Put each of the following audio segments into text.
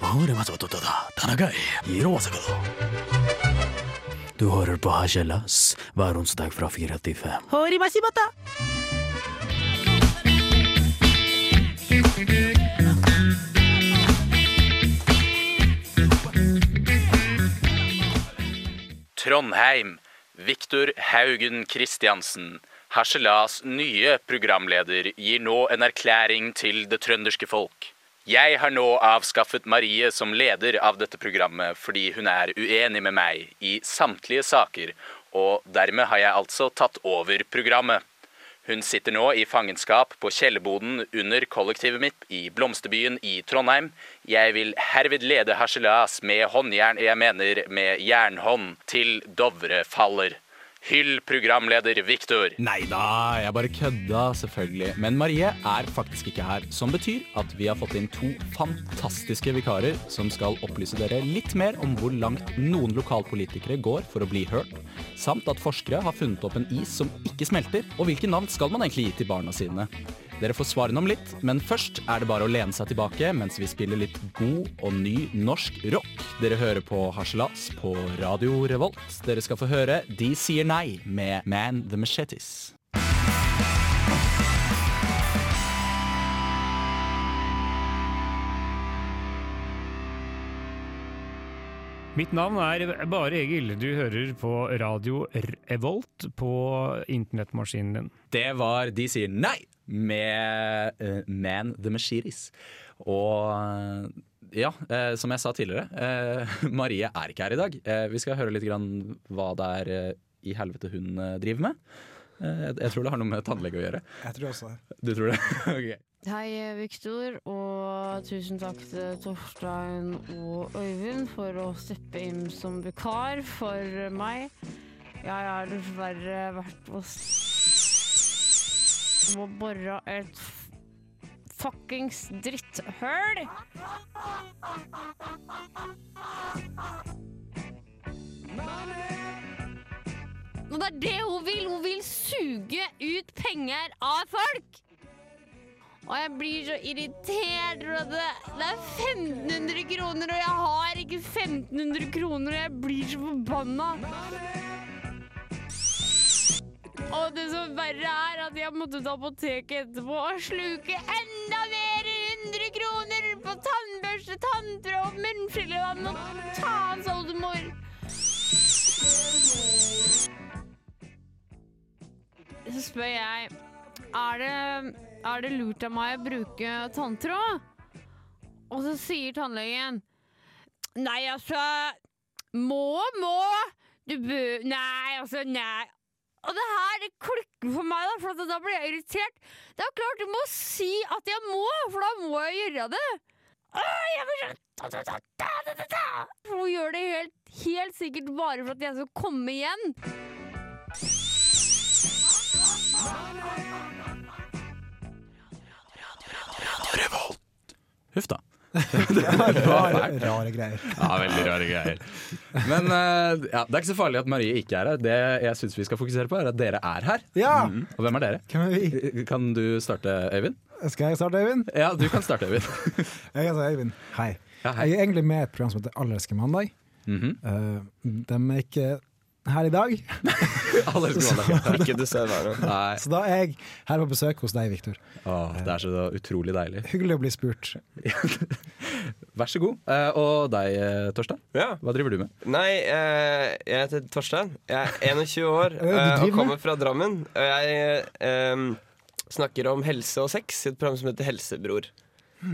Ahora vas a batutata, Tanagai, Hiroasaka. Du hører på Hasjelas hver onsdag fra fire til fem. Horimashibata. Trondheim, Viktor Haugen Kristiansen, Harselas nye programleder, gir nå en erklæring til det trønderske folk. Jeg har nå avskaffet Marie som leder av dette programmet fordi hun er uenig med meg i samtlige saker, og dermed har jeg altså tatt over programmet. Hun sitter nå i fangenskap på kjellerboden under kollektivet mitt i Blomsterbyen i Trondheim. Jeg vil herved lede harselas med håndjern, jeg mener med jernhånd, til Dovre faller. Hyll programleder Viktor. Nei da, jeg bare kødda, selvfølgelig. Men Marie er faktisk ikke her. Som betyr at vi har fått inn to fantastiske vikarer som skal opplyse dere litt mer om hvor langt noen lokalpolitikere går for å bli hørt, samt at forskere har funnet opp en is som ikke smelter, og hvilke navn skal man egentlig gi til barna sine? Dere får svarene om litt, men først er det bare å lene seg tilbake mens vi spiller litt god og ny norsk rock. Dere hører på Harselas på Radio Revolt. Dere skal få høre De sier nei med Man the Machetes. Mitt navn er Bare Egil. Du hører på radio Revolt på internettmaskinen din. Det var De sier nei med eh, Man the Machetes. Og eh, ja, eh, som jeg sa tidligere, eh, Marie er ikke her i dag. Eh, vi skal høre litt grann hva det er eh, i helvete hun eh, driver med. Eh, jeg- jeg tror det har noe med tannlege å gjøre. Jeg tror også det. Du tror det? Ok. Hei, Viktor, og tusen takk til Torstein og Øyvind for å steppe inn som vikar for meg. Jeg har dessverre vært på s- og bora et f- fuckings dritthøl. Og det er det hun vil! Hun vil suge ut penger av folk! Og jeg blir så irritert. Og det, det er 1500 kroner, og jeg har ikke 1500 kroner, og jeg blir så forbanna. Og det som verre er, at jeg måtte til apoteket etterpå og sluke enda mer 100 kroner på tannbørste, tanntråd og munnfrillevann og ta av oldemor. Så spør jeg er det, er det lurt av meg å bruke tanntråd? Og så sier tannlegen Nei, altså Må, må! Du bør Nei, altså, nei. Og det her det klikker for meg, da, for at da blir jeg irritert. Det er klart, du må si at jeg må, for da må jeg gjøre det. Åh, jeg blir sånn ta, ta, ta, ta, ta, ta, ta. Hun gjør det helt, helt sikkert bare for at jeg skal komme igjen. Huff da. Rare, rare greier. Ja, veldig rare greier. Men eh, ja, det er ikke så farlig at Marie ikke er her. Det jeg syns vi skal fokusere på, er at dere er her. Ja! Mhm. Og hvem er dere? Hvem er vi? Kan du starte, Øyvind? Skal jeg starte, Øyvind? Ja, du kan starte, Øyvind. Jeg heter Øyvind. Hei. Ja, hei. Jeg er egentlig med i et program som heter Allerske mandag. Mhm. Eh, de er ikke her i dag, Alle elsker mandag. Ikke du ser hver gang. Nei. så da er jeg her på besøk hos deg, Viktor. Åh, det er så utrolig deilig. Hyggelig å bli spurt. Vær så god. Eh, og deg, eh, Torstein. Ja. Hva driver du med? Nei, eh, jeg heter Torstein. Jeg er 21 år det du eh, og driver kommer fra Drammen. Og jeg eh, em, snakker om helse og sex i et program som heter Helsebror.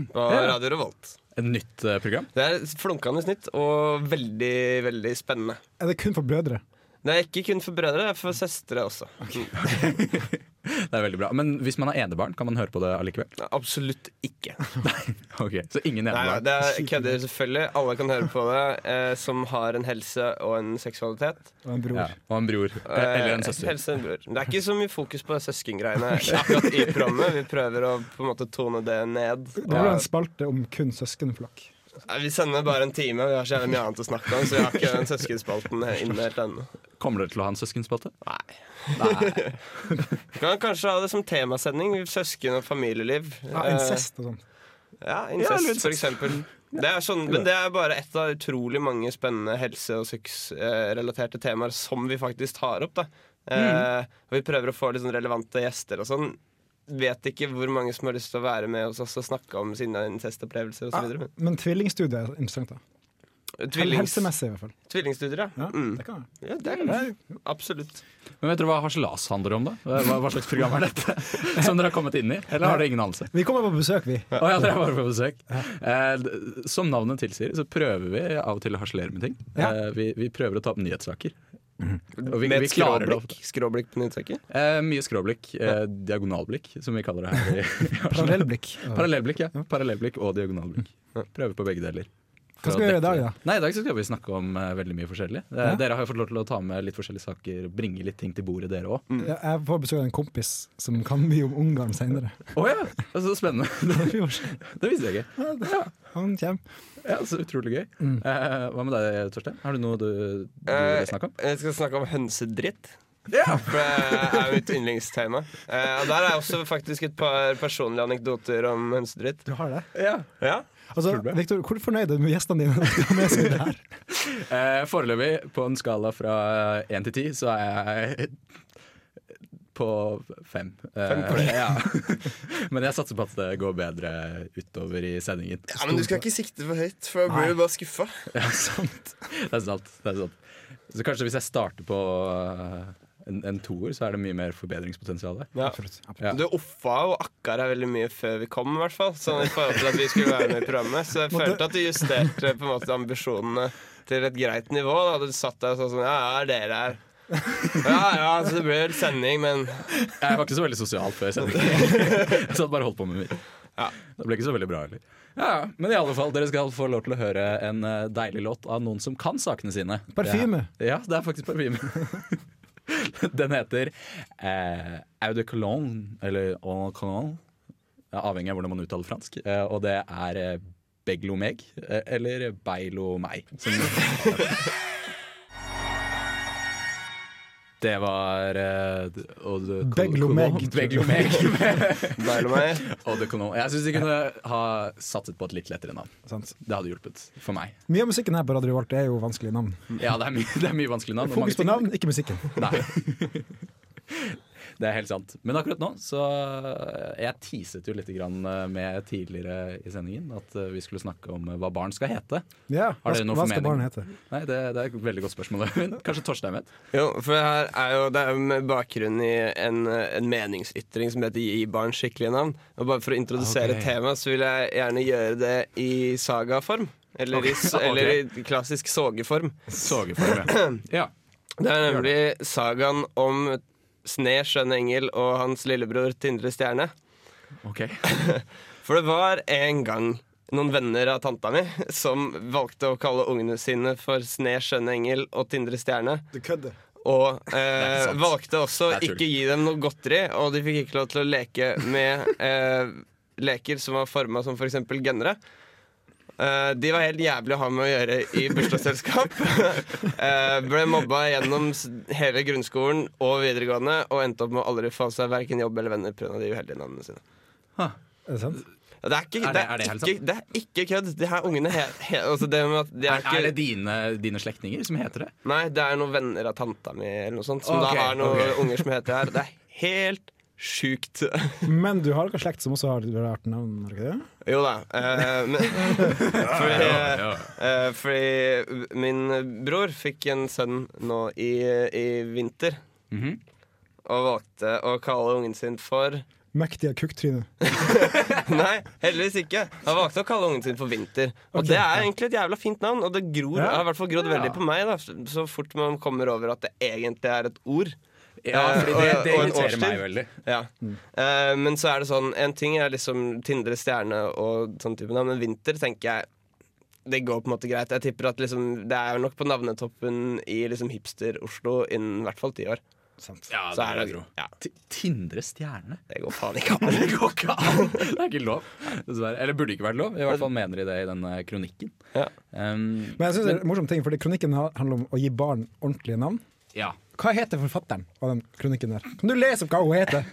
På Ja. Radio Revolt. Et nytt eh, program? Det er flunkende nytt og veldig, veldig spennende. Er det kun for blødere? Det er ikke kun for brødre, det er for søstre også. Det er veldig bra. Men hvis man har enebarn, kan man høre på det allikevel? Nei, Absolutt ikke. Ok, Så ingen Nei, nei, enebarn? det er kødder selvfølgelig. Alle kan høre på det eh, som har en helse og en seksualitet. Og en bror. ja, og en bror. Eh, Eller en Eh, søster. Helst en bror. Det er ikke så mye fokus på søskengreiene akkurat i programmet. Vi prøver å på en måte tone det ned. Det blir en spalte om kun søskenflokk. Nei, Vi sender bare en time, og vi har så jævlig mye annet å snakke om, så vi har ikke den søskenspalten inne helt ennå. Kommer dere til å ha en søskenspalte? Nei. Nei. Vi kan kanskje ha det som temasending. Søsken og familieliv. Ja, Eh, incest og sånn. Ja, Ja, eller incest, incest. for eksempel. Det er sånn, men det er bare ett av utrolig mange spennende helse- og sexrelaterte temaer som vi faktisk tar opp. da eh, og Vi prøver å få litt sånn relevante gjester og sånn. Vet ikke hvor mange som har lyst til å være med hos oss og snakke om sine incestopplevelser Ah, osv. men tvillingstudier er interessant, da. Hel- Tvillings, Helsemessig, i hvert fall. tvillingstudier, ja. Ja, Mm. det kan være. ja det kan vi. Absolutt. Men vet dere hva harselas handler om, da? Hva, hva slags program er dette? Som dere har kommet inn i? Eller har dere ingen anelse? Vi kommer på besøk, vi. Å ja, dere er bare på besøk. Eh, d- som navnet tilsier, så prøver vi av og til å harselere med ting. Ja. Mhm. Eh, vi, vi prøver å ta opp nyhetssaker. Og vi- Med vi et klarer det skråblikk, skråblikk på nyhetssaker. Eh, mye skråblikk. Eh, diagonalblikk, som vi kaller det her. i- i Arsenal. Parallellblikk. Parallellblikk, ja. Parallellblikk og diagonalblikk. Prøver på begge deler. Hva skal vi gjøre i dag, da? Nei, I dag så skal vi snakke om eh, veldig mye forskjellig. Eh, Ja. Dere har jo fått lov til å ta med litt forskjellige saker, bringe litt ting til bordet, dere òg. Ja, Jeg får besøk av en kompis som kan mye om Ungarn senere. Å ja! Det er Så spennende. det visste jeg ikke. Han kommer. Ja, Så utrolig gøy. Mm. Eh, hva med deg, Torstein? Har du noe du, du Eh, vil snakke om? Jeg skal snakke om hønsedritt. Ja. For det er mitt yndlingstema. Eh, og der er også faktisk et par personlige anekdoter om hønsedritt. Du har det? Ja. Ja. Altså, Victor, hvor fornøyd er du med gjestene dine? når de har med seg det her? Eh, foreløpig, på en skala fra én til ti, så er jeg på fem. Eh, ja. Men jeg satser på at det går bedre utover i sendingen. Ja, men du skal ikke sikte for høyt, for da blir du bare skuffa. Ja, sant. Det er sant. det er sant. Så kanskje hvis jeg starter på eh, en, en toer, så er det mye mer forbedringspotensial der. Ja. Absolutt. absolutt. Ja. Du offa og akkar her veldig mye før vi kom, i hvert fall. Sånn i forhold til at vi skulle være med i programmet. Så jeg følte at du justerte på en måte ambisjonene til et greit nivå. Da. Du satt der og sa sånn Ja, ja, dere her. Ja, ja, så det blir vel sending, men Jeg var ikke så veldig sosial før sendingen. Jeg satt bare og holdt på med mitt. Ja. Det ble ikke så veldig bra heller. Ja, men i alle fall, dere skal få lov til å høre en eh, deilig låt av noen som kan sakene sine. Parfyme. Det er- Ja, det er faktisk parfyme. Den heter eh, Eau de Cologne, eller Eau de Cologne, ja, avhengig av hvordan man uttaler fransk. Eh, og det er eh, Beglo meg, eh, eller Beilo meg. Som, det var eh, Eau de Cologne- Beglo meg, tror jeg. Beglo meg. deilig meg. Eau de Cologne. Jeg syns de kunne ha satset på et litt lettere navn. Sant. Det hadde hjulpet for meg. Mye av musikken her på Radio Revolt er jo vanskelige navn. Ja, det er mye, det er mye vanskelig navn. og mange Fokus på ting. navn, ikke musikken. Nei. Det er helt sant. Men akkurat nå så eh, Jeg teaset jo litt grann eh, med tidligere i sendingen at eh, vi skulle snakke om hva barn skal hete. Ja, Har hva, dere noe hva skal formening? barnet hete? Nei, det, det er et veldig godt spørsmål. Øyvind. Kanskje Torstein vet? Jo, for det her er jo det er jo med bakgrunn i en, en meningsytring som heter Gi barn skikkelige navn. Og bare for å introdusere Ok. temaet, så vil jeg gjerne gjøre det i sagaform. Eller, i, s- Ok. eller i klassisk sogeform. Sogeform. Ja. Det er nemlig sagaen om Sne, skjønn engel og hans lillebror Tindre Stjerne. Ok. For det var en gang noen venner av tanta mi som valgte å kalle ungene sine for Sne, skjønn engel og Tindre Stjerne. Du kødder. Og eh, sant. valgte også Det er tull. ikke gi dem noe godteri, og de fikk ikke lov til å leke med eh, leker som var forma som f.eks. gønnere. Eh, de var helt jævlig å ha med å gjøre i bursdagsselskap. eh, ble mobba gjennom s- hele grunnskolen og videregående og endte opp med å aldri få seg verken jobb eller venner pga. de uheldige navnene sine. Er det sant? Og Det er ikke, Er det- det er er det helt ikke, det er ikke kødd. De her ungene he, he, altså det med at de er, Er, ikke, er det dine, dine slektninger som heter det? Nei, det er noen venner av tanta mi eller noe sånt, som Ok, da har noen ok. unger som heter det her. Det er helt sjukt. Men du har noe slekt som også har et rart navn? har du ikke det? Jo da. eh, men, fordi, eh, fordi min bror fikk en sønn nå i, i vinter. Mhm. Og valgte å kalle ungen sin for Mektige kukktryne. Nei, heldigvis ikke. Han valgte å kalle ungen sin for Vinter. Og Ok, det er egentlig et jævla fint navn, og det gror, Ja. har i hvert fall grodd veldig Ja. på meg da, så fort man kommer over at det egentlig er et ord. Ja, fordi det, Eh, og- det og en irriterer meg årstid. veldig. Ja. Eh, men så er det sånn En ting er liksom Tindre stjerne og sånn type navn, men vinter tenker jeg det går på en måte greit. Jeg tipper at liksom, Det er nok på navnetoppen i liksom hipster-Oslo innen i hvert fall ti år. Sant. Ja, Så er det, gro. ja, Ti- Tindre stjerne? det går faen ikke an. Det går ikke an! Det er ikke lov, dessverre. Eller burde ikke vært lov. I hvert fall mener de det i denne kronikken. Ja. Um, Men jeg synes det er en morsom ting, fordi kronikken ha- handler om å gi barn ordentlige navn. ja. Hva heter forfatteren av den kronikken der? Kan du lese opp hva hun heter?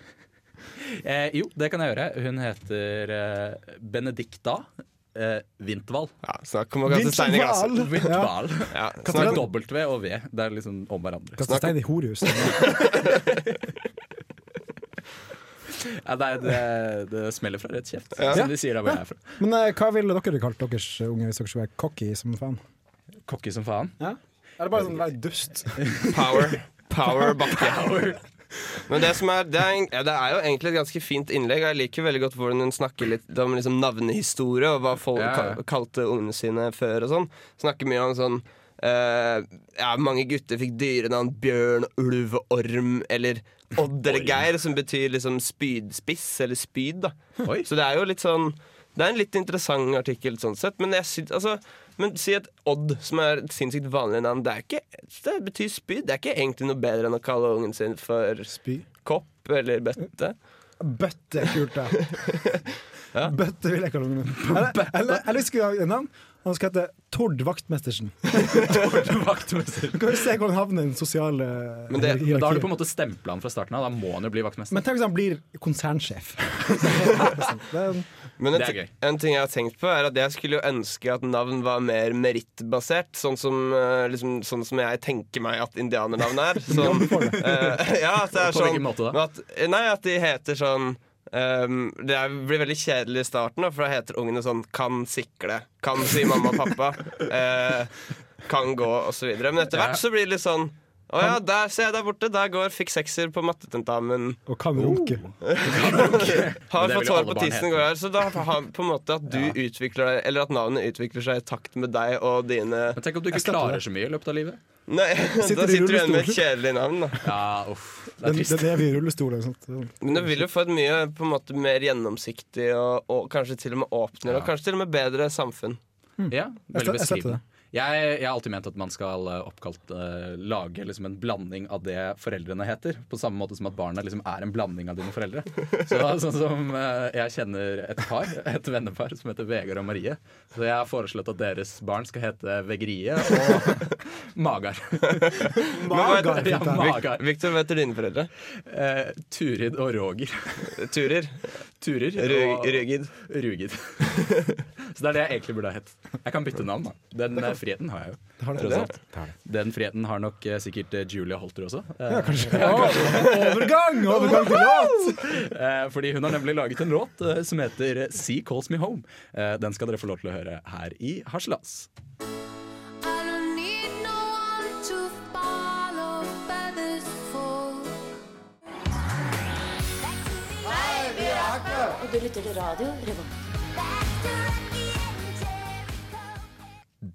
Eh, jo, det kan jeg gjøre. Hun heter eh, Benedicta eh, Vintval. Ja, snakk om å kaste stein i glasset. Vinterval. Ja. Vintval. Ja, Med snakk, W og V. Det er liksom om hverandre. Kaste stein i horehus. Ja, det, er, det, det smeller fra rett kjeft, Ja. som de sier der hvor jeg er fra. Men eh, hva ville dere kalt deres unge hvis dere skulle være cocky som faen? Cocky som faen. Er det bare sånn være dust? power. Power bakke. Men det, som er, det, er, en- ja, det er jo egentlig et ganske fint innlegg. og Jeg liker veldig godt hvordan hun snakker litt om liksom navnehistorie og hva folk Ja, ja. ka- kalte eh, ungene sine før og sånn. Snakker mye om sånn eh, Ja, mange gutter fikk dyrenavn bjørn, ulv, orm eller oddergeir, som betyr liksom spydspiss eller spyd, da. Oi. Så det er jo litt sånn Det er en litt interessant artikkel sånn sett, men jeg syns altså men si at Odd, som er et sinnssykt vanlig navn, det, er ikke, det betyr spyd. Det er ikke egentlig noe bedre enn å kalle ungen sin for Spy. kopp eller bøtte. Bøtte er kult, da. Bøtte vil jeg kalle ungen min. Eller- Eller eller skal vi ha et navn? Han skal hete Tord Vaktmestersen. Vaktmester. Kan vi se hvor han havner i den sosiale Men det- Da har du hierarkiet? på en måte stempla han fra starten av. Da må han jo bli vaktmester. Men tenk hvis han blir konsernsjef. Det er en- Men en, Det er ti- gøy. en ting jeg har tenkt på, er at jeg skulle jo ønske at navn var mer merittbasert. Sånn som, eh, liksom, sånn som jeg tenker meg at indianernavn er. Sånn, eh, ja, at det er På hvilken sånn måte da? men At, nei, at de heter sånn ehm, Det er- blir veldig kjedelig i starten, da, for da heter ungene sånn Kan sikle. Kan si mamma og pappa. eh, kan gå, osv. Men etter Ja. hvert så blir det litt sånn å ja, der, se der borte. Der går fikk sekser på mattetentamen. Og Oh, kan runke. Har Men det fått vil jo hår alle på barn tissen hete. går her, så da har på en måte at du utvikler deg, eller at navnet utvikler seg i takt med deg og dine Men tenk om du ikke klarer så mye i løpet av livet. Nei, Sitter da du i sitter du igjen med et rullestol? kjedelig navn, da. Ja, uff. Det Den, er trist. den er vi i rullestol. Ikke sant? Men du vil jo få et mye på en måte mer gjennomsiktig og, og kanskje til og med åpnere, og kanskje til og med bedre samfunn. Ja, stø- veldig jeg støtter beskrivende. Jeg, jeg har alltid ment at man skal eh, oppkalt eh, lage liksom en blanding av det foreldrene heter. På samme måte som at barna liksom er en blanding av dine foreldre. Så, sånn som eh, Jeg kjenner et par, et vennepar som heter Vegard og Marie. Så jeg har foreslått at deres barn skal hete Vegrie og Magar. Magar, Ja, fint, da. Magar. Victor, vet du dine foreldre? Eh, Turid og Roger. Turer. Turer Ru- og Rugid. Rugid. Så det er det jeg egentlig burde ha hett. Jeg kan bytte navn, da. Den eh, friheten har jeg jo. tross alt. Den friheten har nok eh, sikkert eh, Julia Holter også. Eh, Overgang! Overgang til låt! eh, fordi hun har nemlig laget en låt eh, som heter eh, Sea Calls Me Home. Eh, den skal dere få lov til å høre her i Harselas. I don't need no one to follow feathers for. Og du lytter til radio Revolt. Back to Rocky and Jericho.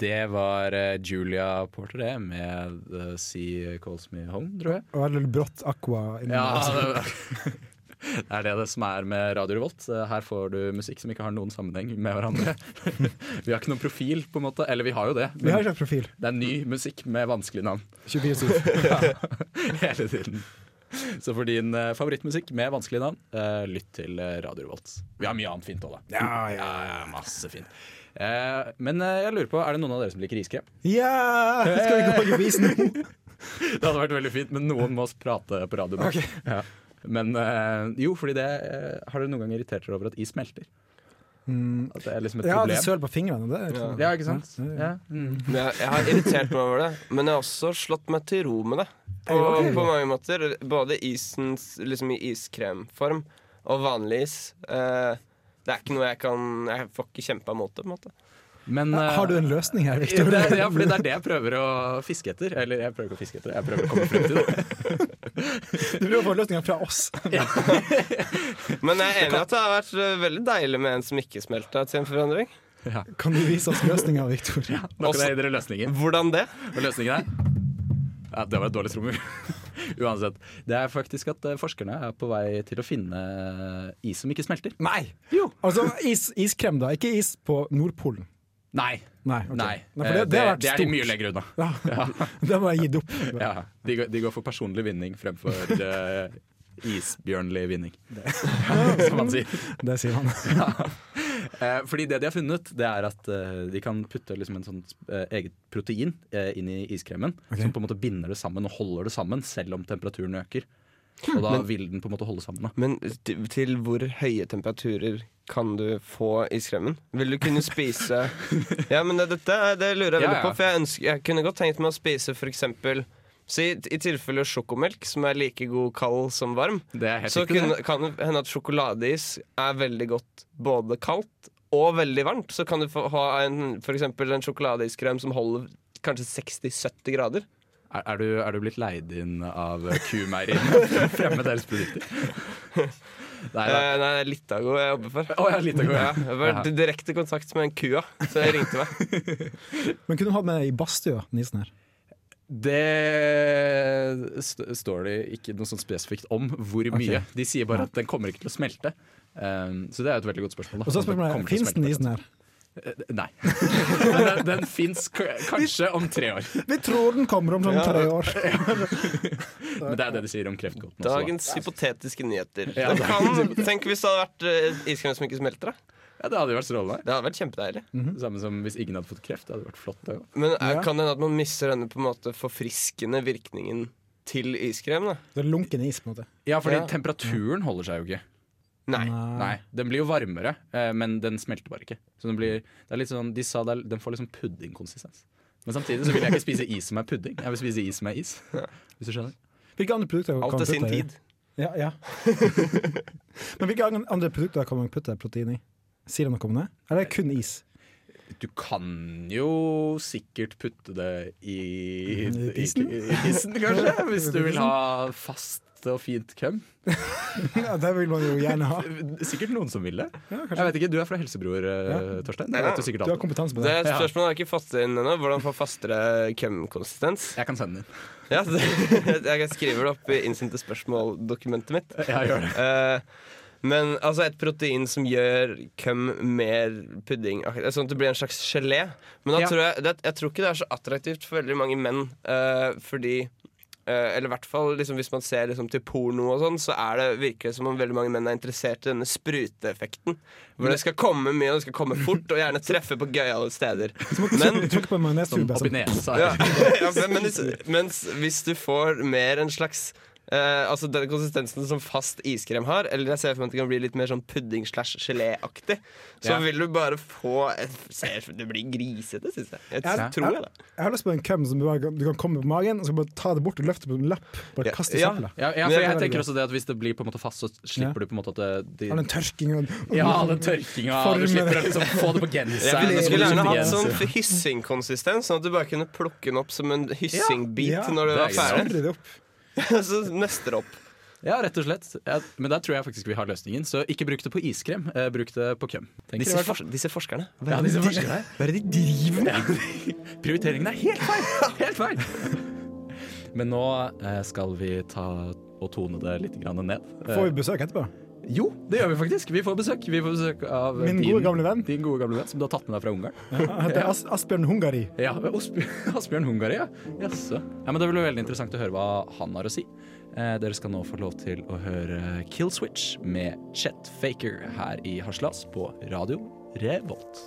Det var eh, Julia Porter, det, med eh, Sea Calls Me Home, tror jeg. Og veldig brått aqua. inni Ja, der, altså. det er det, det som er med Radio Revolt. Eh, Her får du musikk som ikke har noen sammenheng med hverandre. Vi har ikke noen profil, på en måte. Eller vi har jo det. Vi har Men ikke et profil. det er ny musikk med vanskelig navn 24-7. hele tiden. Så for din eh, favorittmusikk med vanskelig navn, eh, lytt til eh, Radio Revolt. Vi har mye annet fint òg, da. Ja, ja. Ja, masse fint. Eh, men eh, jeg lurer på, er det noen av dere som liker iskrem? Ja! Skal vi gå på avisen nå? Det hadde vært veldig fint, men noen må oss prate på radio. nå. Ja. Men eh, jo, fordi det eh, Har dere noen gang irritert dere over at is smelter? At det er liksom et Ja, det problem? søl på fingrene. Det er Ja, ikke sant? Ja, ja, ja. Ja. Mm. Men Jeg, jeg har irritert meg over det, men jeg har også slått meg til ro med det. På, på mange måter. Både isens, liksom i iskremform og vanlig is. Eh, det er ikke noe jeg kan Jeg får ikke kjempa mot det. på en måte Men, eh, Har du en løsning her, det, Victor? er- ja, fordi det er det jeg prøver å fiske etter. Eller jeg prøver ikke å fiske etter, jeg prøver å komme frem til det. Du prøver å få løsninger fra oss. Men jeg er enig i at det har vært eh, veldig deilig med en som ikke smelta til en forandring. Kan du vise oss løsninga, Victor? Nå kan jeg gi dere løsningen. Hvordan det? Og løsningen er ja, Det var et dårlig trommer. Uansett. Det er faktisk at eh, forskerne er på vei til å finne eh, is som ikke smelter. Nei! Altså is, iskrem, da. Ikke is på Nordpolen. Nei. Nei. ok. Nei. for Eh, det, det, har vært det er de stort. mye lenger unna. Ja. Det må jeg gi opp. Ja, de, går- de går for personlig vinning fremfor eh, isbjørnlig vinning, som man sier. Det sier han. Eh, fordi det de har funnet, det er at eh, de kan putte liksom en sånn eh, eget protein eh, inn i iskremen. Som på en måte binder det sammen og holder det sammen, selv om temperaturen øker. Og da Men- vil den på en måte holde sammen. Da. Men til, til hvor høye temperaturer kan du få i skremmen? Vil du kunne spise Ja, men det, dette er- det lurer jeg Ja, veldig ja. på, for jeg, ønsker, jeg kunne godt tenkt meg å spise for eksempel så i, I tilfelle sjokomelk, som er like god kald som varm, Det er helt så riktig, kunne, det. kan det hende at sjokoladeis er veldig godt både kaldt og veldig varmt. Så kan du få ha en, for eksempel en sjokoladeiskrem som holder kanskje 60-70 grader. Er, er, du, er du blitt leid inn av eh, kumeieriene for å fremme deres produkter? Nei da. Eh, nei, det er Litago jeg jobber for. Å, ja, Litago, ja. Jeg var Ja. i direkte kontakt med en kua, så jeg ringte meg. Men kunne du hatt med deg i badstua, den isen her? Det st står det ikke noe sånn spesifikt om hvor mye. De sier bare at den kommer ikke til å smelte. Um, så det er jo et veldig godt spørsmål. da. Og Om så den spør jeg kommer til meg, å finnes den smelte. isen her? Eh, Nei. Men den, den fins kanskje om tre år. Vi tror den kommer om sånn tre år. Men det er det de sier om kreftgåten. også, da. Dagens hypotetiske nyheter. Ja, det kan, tenk hvis det hadde vært eh, iskrem som ikke smelter. Da. Ja, det hadde jo vært strålende. Det hadde vært kjempedeilig. Samme som hvis ingen hadde fått kreft. Det hadde vært flott. Det, også. Men eh, Ja. kan det hende at man mister denne på en måte forfriskende virkningen til iskrem? Da? Det er lunken is, på en måte. ja, fordi Ja. temperaturen holder seg jo ikke. Nei. Nei, Den blir jo varmere, eh, men den smelter bare ikke. Så den blir, det er litt sånn, De sa det er, den får liksom puddingkonsistens. Men samtidig så vil jeg ikke spise is som er pudding. Jeg vil spise is som er is. Hvis du skjønner Hvilke andre produkter kan man Alt er sin putte i? tid. Ja, ja. Men hvilke an- andre produkter kan man putte protein i? Sier det noe om det? Eller er det kun is? Du kan jo sikkert putte det i, I isen? isen? I, i isen, kanskje. Hvis du vil ha fast og fint køm. Ja, det vil man jo gjerne ha. Sikkert noen som vil det. jeg vet ikke, Du er fra Helsebror, eh, Torstein. Jeg, vet jo sikkert Du har alt. kompetanse på Det det. er et spørsmål jeg har ikke fått inn ennå. Hvordan få fastere kømkonsistens? jeg kan sende den inn. Ja, det- jeg skriver det opp i innsendte spørsmål-dokumentet mitt. Jeg gjør det. Eh, men altså et protein som gjør køm mer pudding Sånn at det blir en slags gelé. Men da Ja. tror jeg, det, jeg tror ikke det er så attraktivt for veldig mange menn. eh, fordi eh, Eller i hvert fall liksom, hvis man ser liksom, til porno og sånn, så er det virker det som om veldig mange menn er interessert i denne spruteeffekten. Hvor det skal komme mye, og det skal komme fort, og gjerne treffe på gøyale steder. Men Trykk på en majonestube. Oppi sånn. nesa. ja, ja, men- men, hvis- mens hvis du får mer en slags eh, altså Den konsistensen som fast iskrem har, eller jeg ser for meg at det kan bli litt mer sånn pudding slash geléaktig, så Ja. vil du bare få et, ser, Det blir grisete, syns jeg. Jeg Ja. tror jeg, da. Jeg har lyst på en køm som du, bare, du kan komme på magen, og så bare ta det bort og løfte på en lapp. Bare Ja, kaste ja. søpla. Ja, ja, for Men det er jeg veldig tenker også det at Hvis det blir på en måte fast, så slipper Ja. du på en måte at det, Har det den tørking og Ja, den tørkinga. Du Formen. slipper å liksom få det på Jeg genseren. ville- og så skulle blir det gjerne hatt genser. sånn hyssingkonsistens, sånn at du bare kunne plukke den opp som en hyssingbit Ja. når Det du er var ferdig. Aldri det opp. så nøster opp. Ja, rett og slett. Ja, men der tror jeg faktisk vi har løsningen. Så ikke bruk det på iskrem, eh, bruk det på køm. tenker jeg i hvert fall. Ja, forskerne. disse forskerne her. Hva er det de driver med? Prioriteringen er helt feil! Helt feil! Men nå eh, skal vi ta og tone det litt grann ned. Eh, Får vi besøk etterpå? Jo, det gjør vi faktisk. Vi får besøk. Vi får besøk av Min din, gode gamle venn. din gode gamle venn, som du har tatt med deg fra Ungarn. Han heter As Asbjørn Hungari. Ja, men Asbjørn Asbjørn Hungari, ja. Jaså. Ja, men det blir veldig interessant å høre hva han har å si. Eh, dere skal nå få lov til å høre Killswitch med Chet Faker her i Haslas på Radio Revolt.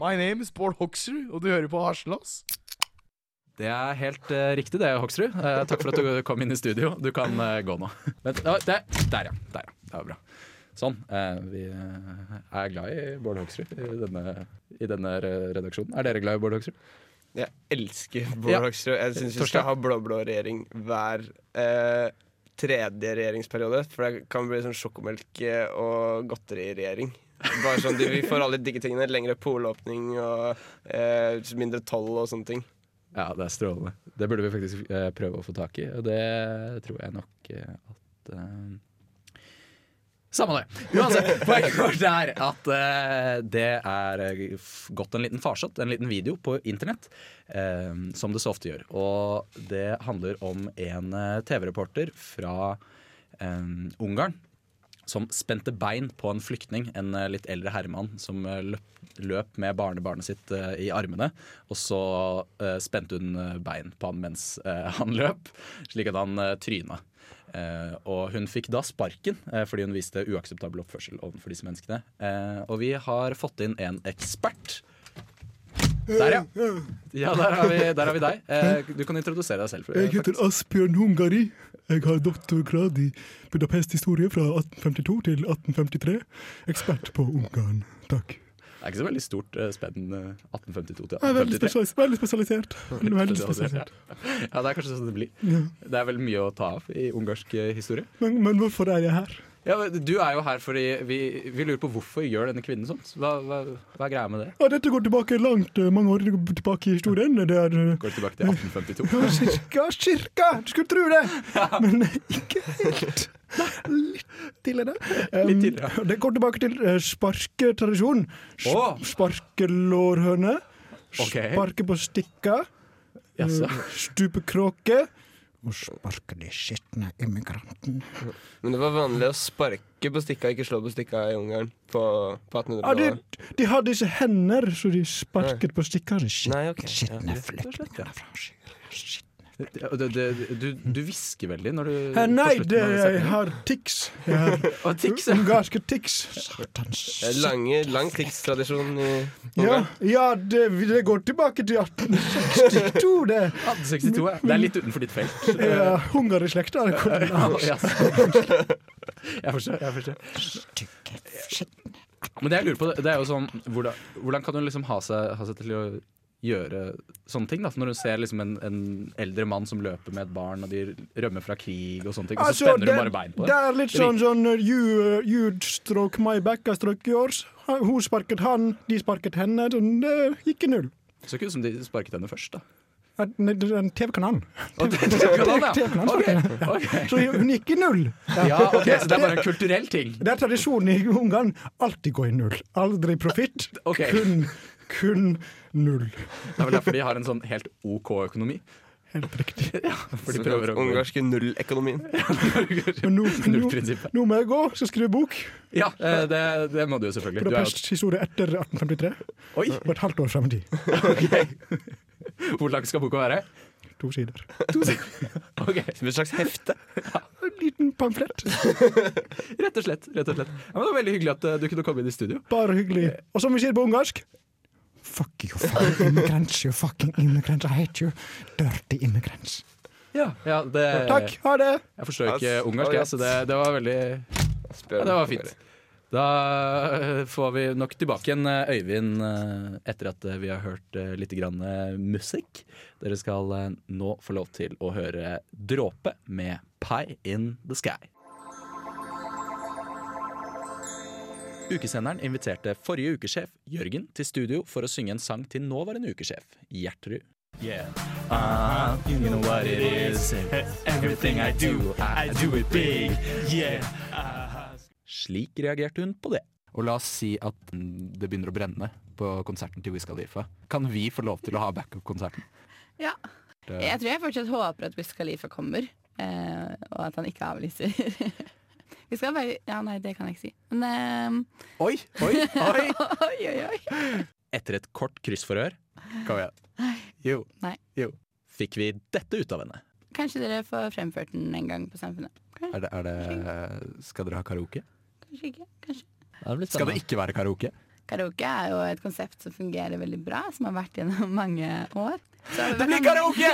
My name is Bård Hoksrud, og du hører på Haslas. Det er helt eh, riktig det, Hoksrud. Eh, takk for at du kom inn i studio. Du kan eh, gå nå. Vent, å, der, der, ja. Der, ja. Det var bra. Sånn. eh, vi eh, er glad i Bård Hoksrud i denne, i denne re- redaksjonen. Er dere glad i Bård Hoksrud? Jeg elsker Bård Ja. Hoksrud. Jeg syns vi Torstein? skal ha blå-blå regjering hver eh, tredje regjeringsperiode. For det kan bli sånn sjokomelk- og godteriregjering. Bare sånn, de- Vi får alle de digge tingene. Lengre polåpning og eh, mindre toll og sånne ting. Ja, det er strålende. Det burde vi faktisk eh, prøve å få tak i, og det tror jeg nok eh, at eh, samme det. Uansett, poenget vårt er at eh, det er eh, f- gått en liten farsott, en liten video på internett, eh, som det så ofte gjør. Og det handler om en eh, TV-reporter fra eh, Ungarn som spente bein på en flyktning, en eh, litt eldre herremann, som eh, løp, løp med barnebarnet sitt eh, i armene. Og så eh, spente hun eh, bein på han mens eh, han løp, slik at han eh, tryna. Eh, og hun fikk da sparken eh, fordi hun viste uakseptabel oppførsel overfor disse menneskene. Eh, og vi har fått inn en ekspert. Der, ja. Ja, der har vi, der har vi deg. Eh, du kan introdusere deg selv. Jeg heter Asbjørn Hungari. Jeg har doktorgrad i Budapest-historie fra 1852 til 1853. Ekspert på Ungarn. Takk. Det er ikke så veldig stort eh, spenn eh, 1852 til Jeg er 1853. veldig spesialis- veldig spesialisert. Veldig spesialisert. Ja, det er kanskje sånn det blir. Ja. Det er vel mye å ta av i ungarsk eh, historie. Men, men hvorfor er jeg her? Ja, men Du er jo her fordi vi, vi lurer på hvorfor gjør denne kvinnen sånt. Hva, hva, hva er greia med det? Ja, dette går tilbake langt, eh, mange år tilbake i historien. Det er eh, Går tilbake til 1852. Ja, kirka, kirka! Du skulle tro det! Men ikke helt. Litt tidligere. Um, Litt tidligere, Det går tilbake til uh, sparketradisjon. Sp Åh! Sparkelårhøne. Ok. Sparke på stikka. eh, Jaså. Stupekråke. Og sparke de skitne immigranten. Men det var vanlig å sparke på stikka, ikke slå på stikka i Ungarn på, på Ja, de, 1800-tallet. de hadde ikke hender, så de sparket på stikka. De skit- Nei, ok. skitne Ja, flekkene. Ja, det- det- Du, du hvisker veldig når du Eh, Nei, på slutten det, av den jeg setningen. har tics. Jeg har ungarske tics. Det er lange, lang krigstradisjon i Ja, Ungarn. ja det, det går tilbake til 1862, det. 1862, ja. Det er litt utenfor ditt felt. Ja, Hunger i slekta. det går til. Ja, så- Jeg forstår. jeg forstår Men det jeg lurer på, det er jo sånn Hvordan, hvordan kan hun liksom ha seg, ha seg til å gjøre sånne ting? da Når hun ser liksom en, en eldre mann som løper med et barn, og de rømmer fra krig og sånne ting, og så Altså, spenner det, hun bare bein på det er litt Det virker- sånn sånn uh, you, uh, you stroke my back, I stroke yours. Han- Hun sparket han, de sparket henne. Sånn, det gikk i null. Så ikke ut som de sparket henne først, da. At- nei, det er En TV-kanal. Og det- det kan han, ja. TV-kanal Ok, sparket henne. ok. Så hun gikk i null. Ja, ok, Så det er bare en kulturell ting. Det er tradisjonen i Ungarn. Alltid gå i null. Aldri profitt. Ok. Kun, kun null. Det er vel derfor de har en sånn helt OK økonomi. Helt riktig. For Sånn de prøver å gå Ungarske nulløkonomien. Men nå, nå, Nullprinsippet. nå må jeg gå, skal skrive bok. Ja, eh, det, det må du jo selvfølgelig. Du er jo, Budapest historie etter 1853. Oi. Og et halvt år frem i tid. hvor lang skal boka være? To sider. Ok Som et slags hefte. En liten pamflett. Rett og slett. rett og slett ja, men Det var veldig hyggelig at eh, du kunne komme inn i studio. Bare hyggelig. Og som vi sier på ungarsk Fuck you, fucking immigrants, you fucking immigrants. I hate you. Dirty immigrants. Ja, ja det, Takk, ha det! Jeg forstår ikke Ass, ungarsk, jeg, så det, det var veldig ja, Spør Det var fint. Da eh, får vi nok tilbake igjen eh, Øyvind eh, etter at eh, vi har hørt eh, litt grann eh, musikk. Dere skal eh, nå få lov til å høre Dråpe med Pie in the Sky. Ukesenderen inviterte forrige ukesjef, Jørgen, til studio for å synge en sang til nåværende ukesjef, Gjertrud. Yeah. Uh, you know what it is. Everything I do, I do it big. Yeah. Slik reagerte hun på det. Og la oss si at mm, det begynner å brenne på konserten til Wiz Khalifa. Kan vi få lov til å ha backup-konserten? Ja. Det- Jeg tror jeg fortsatt håper at Wiz Khalifa kommer, eh, og at han ikke avlyser. Vi skal bare Ja, nei, det kan jeg ikke si. Men Oi, oi, oi! eh, oi, oi, oi. Etter et kort kryssforhør Kom igjen. Jo. Nei. Jo. Fikk vi dette ut av henne? Kanskje dere får fremført den en gang på Samfunnet. Er det, er det Skal dere ha karaoke? Kanskje ikke. kanskje Skal det ikke være karaoke? Karaoke eh, er jo et konsept som fungerer veldig bra, som har vært gjennom mange år. Det blir karaoke!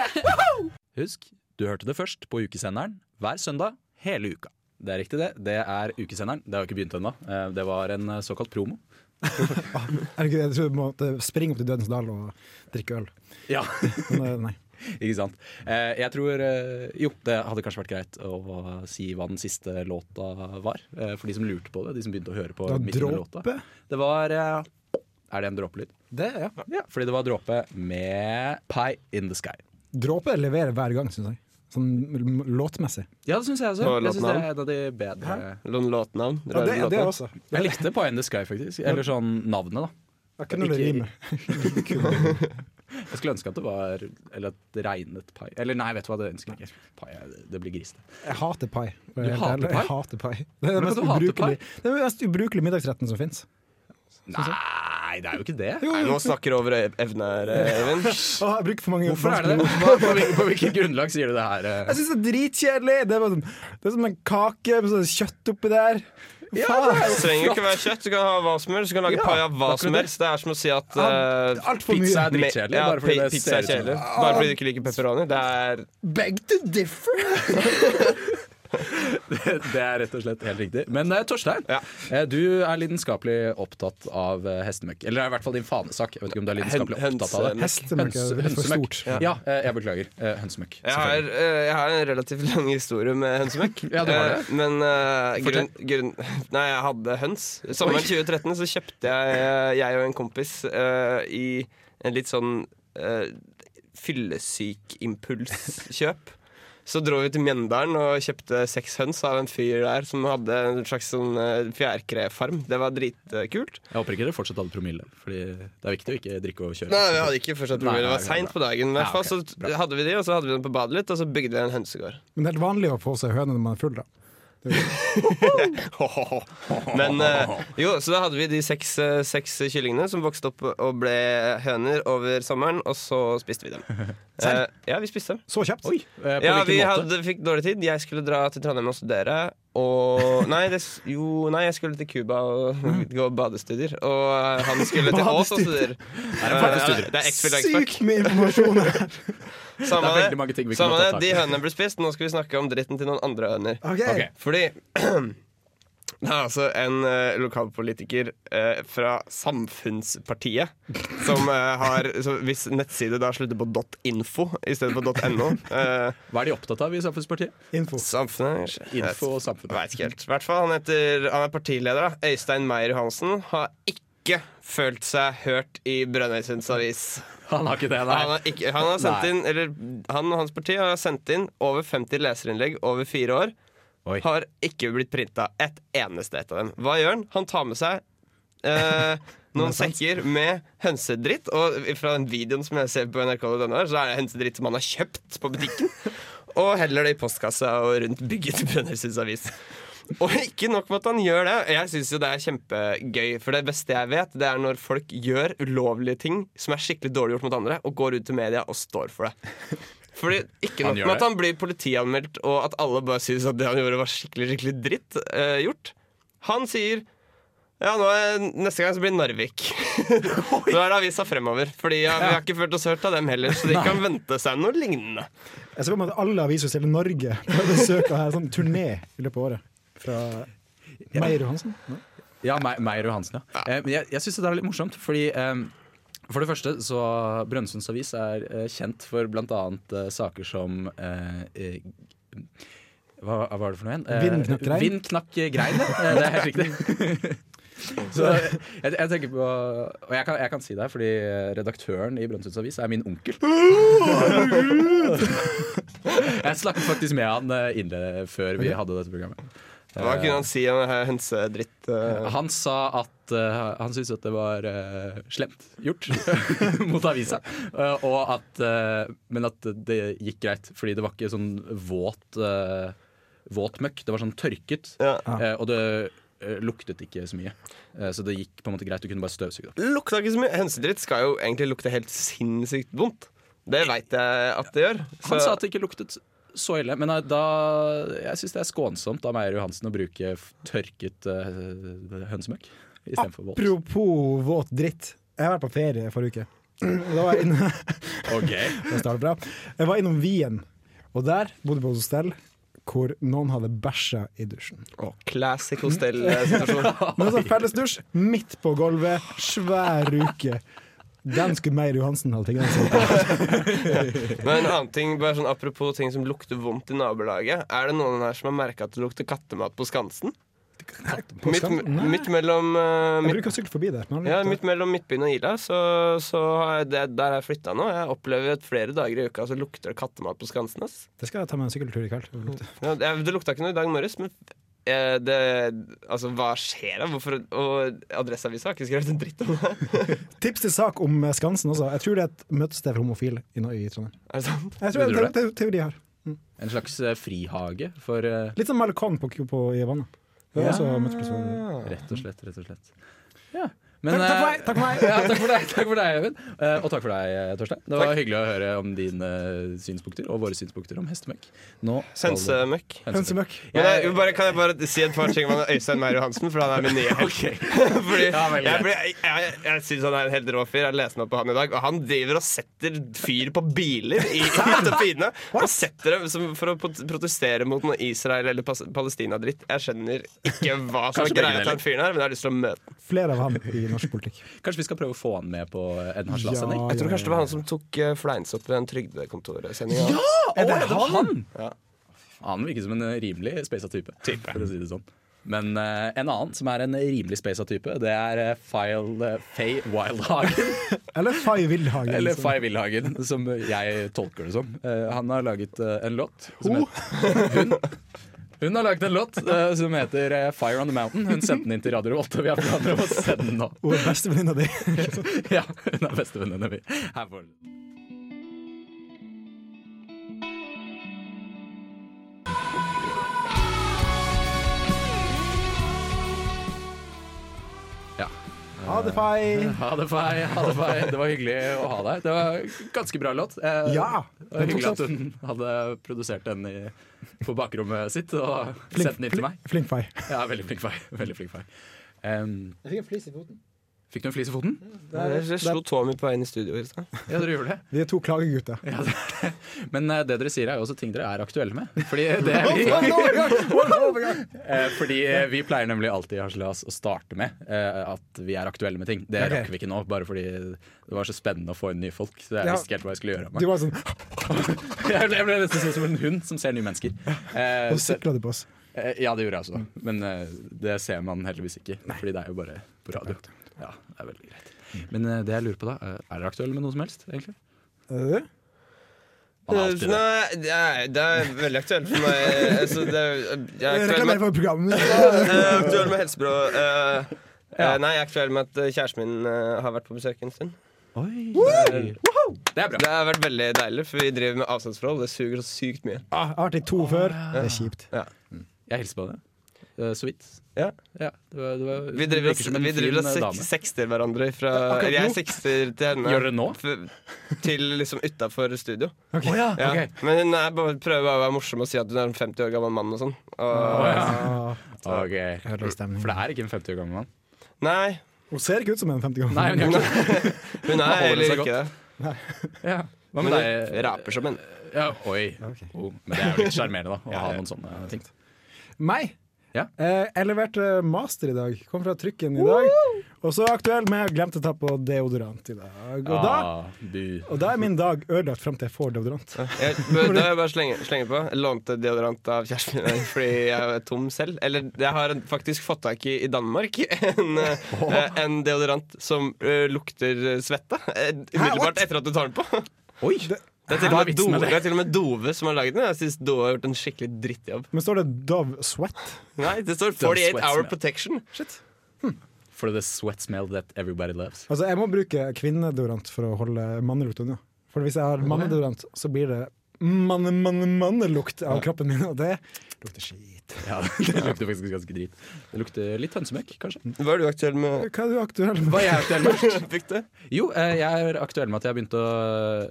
Husk, du hørte det først på ukesenderen hver søndag hele uka. Det er riktig, det. Det er ukesenderen. Det har jo ikke begynt ennå. Eh, Det var en eh, såkalt promo. Er det ikke det? Jeg tror du måtte springe opp til Dødens dal og drikke øl. Ja, Men, eh, nei. ikke sant. Eh, Jeg tror eh, Jo, det hadde kanskje vært greit å si hva den siste låta var. eh, For de som lurte på det. De som begynte å høre på Det var midt under låta. dråpe. Det var eh, Er det en dråpelyd? Det, ja. Ja, fordi det var dråpe med Pie in the Sky. Dråpe leverer hver gang, syns jeg. Sånn m- m- låtmessig. Ja, det syns jeg også. Og Jeg synes det låtnavn? er en av de bedre Lån- Låtnavn? Ja, det, det Låtnavn? også. Jeg likte Pie in the Sky, faktisk. Eller sånn navnet, da. Jeg kunne Ikke- rime. Jeg skulle ønske at det var Eller at det regnet pai. Eller nei, vet du hva, det ønsker jeg ikke. Pai, er- det blir grisete. Jeg hater pai. for Du jeg er helt hater ærlig. pai? Jeg hater pai. Det er Men den mest du hater ubrukelige, det er den mest ubrukelige middagsretten som fins. Nei, det er jo ikke det. Nei, nå snakker du over e- evne her, eh, Eivind. Jeg bruker for mange Hvorfor er det vanskelige det? ord. Hva, på, hvil- på hvilket grunnlag sier du det her? eh? Jeg syns det er dritkjedelig! Det er, bare sånn, det er som en kake med sånn kjøtt oppi der. det trenger ikke være kjøtt. Du kan ha hva som helst. Du kan lage Ja, pai av hva akkurat som det. helst. Det er som å si at Ja, eh, alt for mye er me- drittkjedelig, Ja, bare fordi pi- det pizza ser er ut som kjedelig. det. Bare fordi du ikke liker pepperoni. Det er Beg to differ! Det det er rett og slett helt riktig. Men eh, Torstein, eh, du er lidenskapelig opptatt av eh, hestemøkk. Eller det er i hvert fall din fanesak. Jeg vet ikke om du er lidenskapelig Høn- opptatt av det. hønsemøkk. Høns- Hestemøkk er litt for hønsemøkk. stort. Ja, eh, jeg beklager. Eh, Hønsemøkk. Jeg har, eh, jeg har en relativt lang historie med hønsemøkk. Ja, du har det. Eh, Men eh, grunn, Fortell. grunn, Nei, jeg hadde høns. Oi. Sommeren 2013 så kjøpte jeg, eh, jeg og en kompis eh, i en litt sånn uh, fyllesykimpulskjøp. Så dro vi til Mjøndalen og kjøpte seks høns av en fyr der som hadde en slags sånn eh, fjærkrefarm. Det var dritkult. Jeg håper ikke dere fortsatt hadde promille, Fordi det er viktig å ikke drikke og kjøre. Nei, vi hadde ikke fortsatt promille. Det var Nei, nei, seint på dagen. I nei, hvert fall ok. så hadde vi de, og så hadde vi dem på badet litt, og så bygde vi en hønsegård. Men det er helt vanlig å få seg høne når man er full, da. Men eh, jo, så da hadde vi de seks, eh, seks kyllingene som vokste opp og ble høner over sommeren, og så spiste vi dem. Eh, ja, vi spiste dem. Så kjapt. eh, på ja, hvilken vi måte? hadde, fikk dårlig tid. Jeg skulle dra til Trondheim og studere. Og nei, det, s- jo, nei, jeg skulle til Cuba og Mm. gå badestudier. Og eh, han skulle til Ås og Badestudier. studere. Eh, badestudier? det er expert, expert. Sykt med informasjon her! Samme Det er det. veldig mange ting vi kunne Samme tatt tak i. det. De hønene ble spist. Nå skal vi snakke om dritten til noen andre høner. Ok. Ok. Fordi det er altså en eh, lokalpolitiker eh, fra Samfunnspartiet som eh, har så Hvis nettside da slutter på .info i stedet for .no eh, Hva er de opptatt av i Samfunnspartiet? Info. Samfunnet, Info og samfunn. Vet ikke helt. I hvert fall, han, heter, han er partileder, da. Øystein Meyer Johansen. Har ikke følt seg hørt i Brønnøysunds avis. Han har ikke det, nei. Han har, ikke, han har sendt Nei. inn, eller han og hans parti har sendt inn over 50 leserinnlegg over fire år. Har ikke blitt printa et eneste et av dem. Hva gjør han? Han tar med seg eh, noen sekker med hønsedritt. Og fra den videoen som jeg ser på NRK denne år, så er det hønsedritt som han har kjøpt på butikken. Og heller det i postkassa og rundt bygget til Brønnøysunds avis. Og ikke nok med at han gjør det. Jeg syns jo det er kjempegøy. For det beste jeg vet, det er når folk gjør ulovlige ting som er skikkelig dårlig gjort mot andre, og går ut til media og står for det. Fordi ikke Han nok gjør med at det. han blir politianmeldt, og at alle bare syns at det han gjorde, var skikkelig skikkelig dritt eh, gjort. Han sier ja, nå er, neste gang så blir det Narvik. nå er det avisa fremover. Fordi ja, vi har ikke følt oss hørt av dem heller, så de kan vente seg noe lignende. Jeg ser for meg at alle aviser i hele Norge prøver å besøke her, sånn turné i løpet av året. Fra Meyer Johansen. Ja. Ja, Me- Meyer Johansen, ja. Eh, men jeg jeg syns det er litt morsomt, fordi eh, for det første så Brønnøysunds Avis er eh, kjent for bl.a. Eh, saker som eh, eh, hva, hva var det for noe igjen? Eh, Vind, knakk, grein. Vind, knakk, grein, ja. Eh, Det er helt riktig. Så jeg, jeg tenker på Og jeg kan, jeg kan si det her, fordi redaktøren i Brønnøysunds Avis er min onkel. Jeg snakket faktisk med han eh, innle før vi hadde dette programmet. Hva Eh, kunne han si om det her hønsedritt? eh? han sa at eh, han syntes at det var eh, slemt gjort mot avisa. Eh, og at, eh, men at det gikk greit, fordi det var ikke sånn våt, eh, våt møkk. Det var sånn tørket, eh, og det eh, luktet ikke så mye. Eh, så det gikk på en måte greit. Du kunne bare støvsuge det opp. Lukta ikke så mye. Hønsedritt skal jo egentlig lukte helt sinnssykt vondt. Det veit jeg at det gjør. Han sa at det ikke luktet så ille, men eh, da, jeg syns det er skånsomt av Meyer Johansen å bruke f- tørket uh, hønsemøkk istedenfor våt. Apropos våt dritt. Jeg var på ferie forrige uke. Da var jeg inne Ok. Det starter bra. Jeg var innom Wien, og der bodde vi på et hostell hvor noen hadde bæsja i dusjen. Classic hostell-situasjon. Men altså, fellesdusj midt på gulvet, svær ruke. Den skulle Meyer Johansen ha tingene Men en annen ting, bare sånn Apropos ting som lukter vondt i nabolaget. Er det noen her som har merka at det lukter kattemat på Skansen? på Midt, Skansen? Nei. midt mellom eh, Jeg midt, bruker å sykle forbi der. men ja, aldri- midt mellom Midtbyen og Ila, så, så har jeg, det, der har jeg flytta nå. Jeg opplever at flere dager i uka så lukter det kattemat på Skansen. ass Det skal jeg ta meg en sykkeltur i kveld. Ja, det, det lukta ikke noe i dag morges, men eh, det, altså, hva skjer da? Hvorfor, og Adresseavisa har ikke skrevet en dritt om det. Tips til sak om eh, Skansen også. Jeg tror det er et møtested for homofile i Norge, i Trondheim. Er det sant? Jeg tror det er Tror en du te- teori her. En slags eh, frihage for eh, Litt sånn Malecon på, på, i vannet. Det Ja. er også møteplass for- Rett og slett, rett og slett. Ja. Men, Takk- takk eh, for meg, takk for meg. ja, takk for deg, takk for deg Even. Eh, og takk for deg, eh, Torstein. Det var hyggelig å høre om dine eh, synspunkter og våre synspunkter om hestemøkk. Nå skal det- Hønsemøkk. Hønsemøkk. Men jeg, Jeg- bare, kan jeg bare si et par ting om Øystein Meyer Johansen, for han er min nye helt. Ja, Fordi jeg veldig jeg, greit. jeg, jeg, jeg syns han er en helt rå fyr. Jeg leste meg opp på han i dag, og han driver og setter fyr på biler i Filippinene. Og setter dem som, for å pot- protestere mot noe Israel- eller pas- Palestina-dritt. Jeg skjønner ikke hva som Kanskje er begge greia til deler. den fyren her, men jeg har lyst til å møte ham. Flere av han i norsk politikk. Kanskje vi skal prøve å få han med på en Jeg harselasending? tror kanskje det var han som tok eh, fleinsopp ved en trygdekontorsending. Ja! Å, Er det ja, det var han? han? Han virker som en eh, rimelig speisa type, for å si det sånn. Men eh, en annen som er en rimelig speisa type, det er eh, File eh, Faye Wildhagen. Eller Fay Wildhagen. Eller som- Faye Wildhagen, som jeg tolker det som. Eh, han har laget eh, en låt som Ho? het- hun. Hun har laget en låt eh, som heter eh, 'Fire on the Mountain'. Hun sendte den inn til Radio Revolt, og vi har planer om å sende den nå. Og bestevenninna di. ja, hun er bestevenninna mi. Her får du den. Ja. Ha det, Fay. Ha det, Fay. Ha det, Fay. Det var hyggelig å ha deg. Det var ganske bra låt. Eh, Ja, det var den tok hyggelig at seg. hun hadde produsert den i, på bakrommet sitt og sendt den inn til meg. Flink Fay. Ja, veldig flink Fay. Veldig flink Fay. Em, Jeg fikk en flis i foten. fikk du en flis i foten? Jeg, jeg slo tåa mi på veien i studio i stad. Ja, dere gjorde det. Vi er to klagegutter. Ja, det er det. Men eh, det dere sier er jo også ting dere er aktuelle med. Fordi, eh, det er One overgang, one Eh, fordi eh, vi pleier nemlig alltid i Harselas å starte med eh, at vi er aktuelle med ting. Det Ok. rakk vi ikke nå, bare fordi det var så spennende å få inn nye folk. Så jeg Ja. visste ikke helt hva jeg skulle gjøre av Du meg. var sånn Jeg ble, jeg ble nesten sånn som en hund som ser nye mennesker. Eh, Og så- sikla du på oss. eh, ja, det gjorde jeg også, da. men eh, det ser man heldigvis ikke. Fordi det er jo bare på radio. Ja, det er veldig greit. Men eh, det jeg lurer på da, eh, er dere aktuelle med noe som helst, egentlig? Eh, Han er Nei, alltid det. det er, det er veldig aktuelt for meg. Altså, det er, jeg er aktuell Reklamer med, for programmet. jeg er aktuell med helsebyrå. eh, eh, nei, jeg er aktuell med at eh, kjæresten min eh, har vært på besøk en stund. Det er bra. Det har vært veldig deilig, for vi driver med avstandsforhold. Det suger så sykt mye. Ah, Jeg har vært i to før. Det er kjipt. Ja. Jeg hilser på deg. Eh, Så vidt. Ja. det var, det var, Vi driver virker som en og- vi driver fin, eh, og dame. sek sekster hverandre fra Akkurat nå. eller Jeg sekster til henne. Gjør dere nå? f- Til liksom utafor studio. Ok. Å ja, ok. Men hun er bare, prøver bare å være morsom og si at hun er en 50 år gammel mann og sånn. Og, Ok. For det er ikke en 50 år gammel mann. Nei. Hun ser ikke ut som en 50 gammel Nei, hun gjør ikke det. Hun er holder heller seg ikke godt. det. Ja. Hva Men med deg? hun raper som en. Ja, oi. Oh, men det er jo litt sjarmerende, da. Å ha noen sånne ting. Meg? Ja. Eh, jeg leverte master i dag. Kom fra trykken i dag. Og så aktuell med jeg glemte å ta på deodorant i dag. Og da, Ah, bu. og da er min dag ødelagt fram til jeg får deodorant. Jeg, men da vil jeg bare slenge, slenge på. Jeg lånte deodorant av kjæresten min fordi jeg er tom selv. Eller jeg har en- faktisk fått tak i i Danmark en, eh, en deodorant som eh, lukter svette eh, umiddelbart etter at du tar den på. Oi! Det er, til Hva er og med vitsen Dove, med det det? er til og med Dove som har lagd den. Jeg syns Dove har gjort en skikkelig drittjobb. Men står det Dove Sweat? Nei, det står Dove 48 sweats Hour me. Protection. For the sweat smell that everybody loves. Altså, jeg må bruke kvinnedeodorant for å holde mannelukt unna. For hvis jeg har mannedeodorant, så blir det manne, manne, mannelukt av kroppen min, og det lukter skit. Ja, Det lukter faktisk ganske drit. Det lukter litt hønsemøkk, kanskje. Hva er du aktuell med? Hva er du aktuell med? Hva er jeg aktuell med? Fikk du? Jo, eh, jeg er aktuell med at jeg har begynt å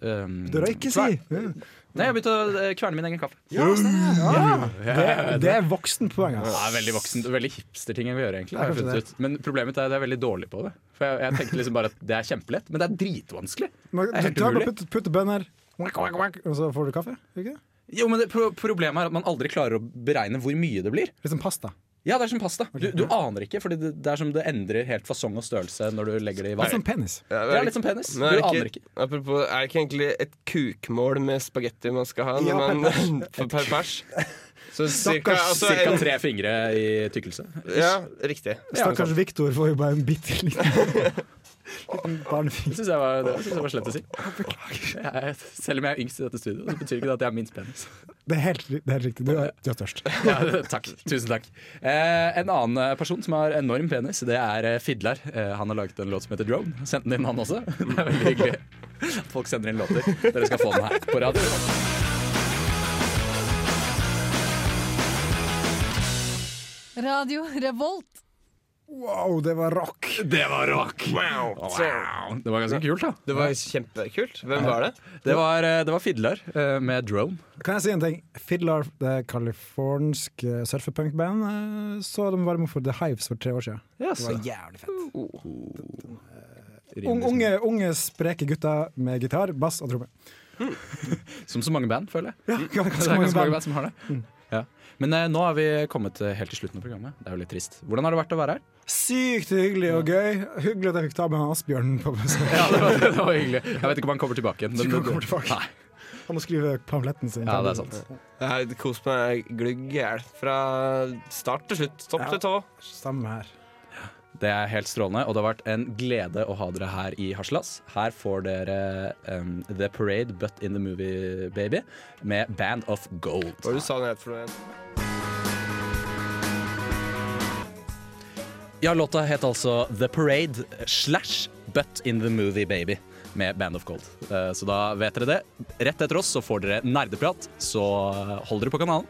eh, Du røyker, si! Nei, jeg har begynt å eh, kverne min egen kaffe. Ja, stemmer. Ja. Ja, Det, det er voksenpoeng, Det ass. er veldig voksent og veldig hipsterting jeg vil gjøre. egentlig Det er har jeg kanskje funnet ut. Men problemet er at jeg er veldig dårlig på det. For jeg, jeg tenkte liksom bare at det er kjempelett, men det er dritvanskelig. Det Man, er helt du tar bare umulig. putt, putte bønner, wak, wak, wak, og så får du kaffe? Ikke? det? Jo, men det, pro Problemet er at man aldri klarer å beregne hvor mye det blir. Litt som pasta. Ja, det er som pasta. Du, du aner ikke, for det, det er som det endrer helt fasong og størrelse når du legger det i Litt som vann. penis. Ja, Det er litt som penis. men er Du det aner ikke. Apropos, er det ikke egentlig et kukmål med spagetti man skal ha Ja, når per man, per, pers? Så cirka, Stakkars altså, cirka en- tre fingre i tykkelse. Ja, riktig. Stakkars Viktor får jo bare en bitte liten liten Det barnefing. syns jeg, var- det synes jeg var slett å si. Jeg, selv om jeg er yngst i dette studioet, så betyr ikke det at jeg har minst penis. Det er helt, det er helt riktig. Du er, du er størst. Ja, takk. Tusen takk. Eh, en annen eh, person som har enorm penis, det er eh, Fidlar. Eh, han har laget en låt som heter Drone. Sendt den inn, han også. Det er veldig hyggelig at folk sender inn låter. Dere skal få den her på radio. Radio Revolt. Wow, det var rock! Det var rock! Wow. Wow. Det var ganske kult, da. Det var kjempekult. Hvem var det? Det var, eh, det var Fidler eh, med drone. Kan jeg si en ting? Fiddler, det californske surfepunkband, eh, så de varme for The Hives for tre år siden. Det var jævlig fett. Eh, Ung- unge, unge, spreke gutter med gitar, bass og tromme. Som så mange band, føler jeg. Ja, det er ganske mange band Mm. som har det. Ja. Men eh, nå har vi kommet eh, helt til slutten av programmet. Det er jo litt trist. Hvordan har det vært å være her? Sykt hyggelig og gøy. Hyggelig at jeg fikk ta med han Asbjørn på besøk. Ja, det var, det var hyggelig. Jeg vet ikke om han kommer tilbake. igjen, Tror ikke han kommer Nei. Han må skrive pamfletten sin. Ja, det er sant. Jeg har kost meg glugg i hjel fra start til slutt. Topp til tå. Samme her. Det er helt strålende, og det har vært en glede å ha dere her i Haslas. Her får dere um, The Parade But In The Movie Baby med Band of Gold. Hva var det du sa du for noe igjen? Ja, låta het altså The Parade slash But In The Movie Baby med Band of Gold. Eh, Så da vet dere det. Rett etter oss så får dere nerdeprat, så hold dere på kanalen.